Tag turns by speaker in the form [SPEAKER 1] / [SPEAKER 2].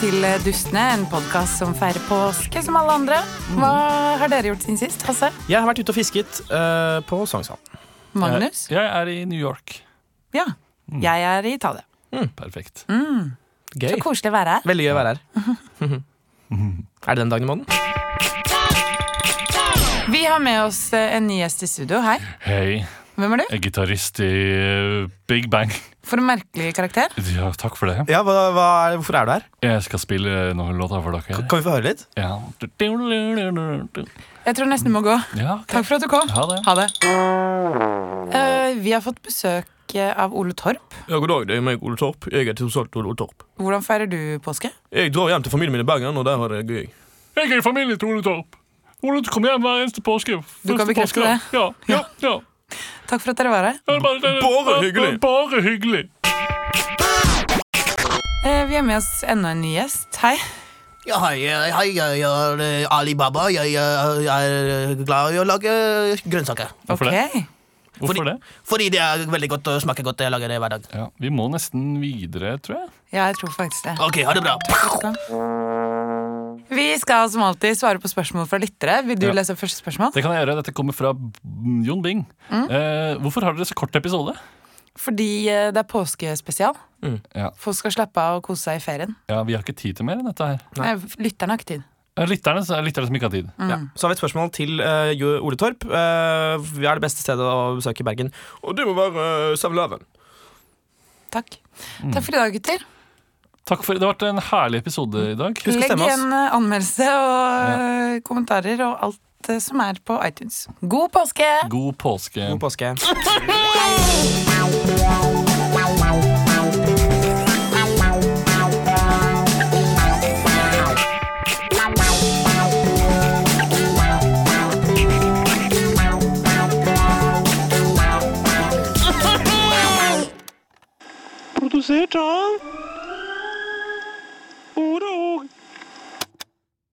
[SPEAKER 1] til eh, Dustene, en podkast som feirer påske som alle andre.
[SPEAKER 2] Mhm.
[SPEAKER 1] Hva har dere gjort siden sist, Hasse?
[SPEAKER 3] Jeg har vært ute og fisket eh, på Sognsvann.
[SPEAKER 1] Magnus?
[SPEAKER 2] Jeg er i New York.
[SPEAKER 1] Ja.
[SPEAKER 2] Mm.
[SPEAKER 1] Jeg er i Italia.
[SPEAKER 2] Perfekt.
[SPEAKER 3] Gøy.
[SPEAKER 1] Så koselig å være her.
[SPEAKER 3] Veldig gøy å være her. er det den dagen i måneden?
[SPEAKER 1] Vi har med oss eh, en ny gjest i studio. Hei.
[SPEAKER 2] Hei.
[SPEAKER 1] Hvem er du?
[SPEAKER 2] Jeg er gitarist i eh, Big Bang.
[SPEAKER 1] For en merkelig karakter.
[SPEAKER 2] Ja, takk for det.
[SPEAKER 3] Ja, hva, hva er, Hvorfor er du her?
[SPEAKER 2] Jeg skal spille noen låter for dere.
[SPEAKER 3] Kan vi få høre litt?
[SPEAKER 2] Ja.
[SPEAKER 1] Jeg tror nesten du må gå.
[SPEAKER 2] ja ok.
[SPEAKER 1] Takk for at du kom.
[SPEAKER 2] Ha det.
[SPEAKER 1] Ha det. Eh, vi har fått besøk eh, av Ole Torp.
[SPEAKER 4] Ja, god dag, det er meg, Ole Torp. Jeg er tilsalt Ole Torp.
[SPEAKER 1] Hvordan feirer du påske?
[SPEAKER 4] Jeg drar hjem til familien min i Bergen, og der har det gøy.
[SPEAKER 2] Jeg er i familie til Ole Torp. Ole kommer hjem hver eneste
[SPEAKER 1] Du
[SPEAKER 2] påske.
[SPEAKER 1] kan
[SPEAKER 2] Første
[SPEAKER 1] bekrefte
[SPEAKER 2] påskedag. Ja, ja, ja.
[SPEAKER 1] Takk for at dere var her.
[SPEAKER 2] Det er Bare, det er-
[SPEAKER 4] Bare hyggelig.
[SPEAKER 2] Bare hyggelig.
[SPEAKER 1] Eh, vi har med oss enda en ny gjest. Hei.
[SPEAKER 5] Ja, hei, eh, hei, jeg er eh, Ali Baba. Jeg eh, er glad i å lage grønnsaker.
[SPEAKER 2] Hvorfor det?
[SPEAKER 1] Ok.
[SPEAKER 2] Hvorfor
[SPEAKER 5] Fordi-
[SPEAKER 2] det?
[SPEAKER 5] Fordi det er veldig godt og smaker godt. Jeg lager det hver dag.
[SPEAKER 2] Ja, vi må nesten videre, tror jeg.
[SPEAKER 1] Ja, jeg tror faktisk det.
[SPEAKER 5] Ok, ha det bra.
[SPEAKER 1] Vi skal som alltid svare på spørsmål fra lyttere. Vil du
[SPEAKER 2] Ja.
[SPEAKER 1] lese opp første spørsmål?
[SPEAKER 2] Det kan jeg gjøre. Dette kommer fra Jon Bing. Eh, hvorfor har dere så kort episode?
[SPEAKER 1] Fordi eh, det er påskespesial.
[SPEAKER 2] Ja.
[SPEAKER 1] Folk skal slappe av og kose seg i ferien.
[SPEAKER 2] Ja, Vi har ikke tid til mer enn dette her.
[SPEAKER 1] Nei. Lytterne har ikke tid.
[SPEAKER 2] Eh, Lytterne, så er det lytterne som ikke har tid.
[SPEAKER 1] Mm.
[SPEAKER 3] Ja. Så har vi et spørsmål til eh, Jo- Ole Torp. Eh, hva er det beste stedet å besøke i Bergen?
[SPEAKER 4] Og det må være uh, 7-Eleven.
[SPEAKER 1] Takk. Takk for i dag, gutter.
[SPEAKER 2] Takk for, Det har vært en herlig episode i dag.
[SPEAKER 3] Husk å
[SPEAKER 1] Legg
[SPEAKER 3] stemme oss.
[SPEAKER 1] igjen eh, anmeldelse og eh, kommentarer og alt eh, som er på iTunes. God påske!
[SPEAKER 2] God påske.
[SPEAKER 3] God påske.
[SPEAKER 6] produziert av Oro.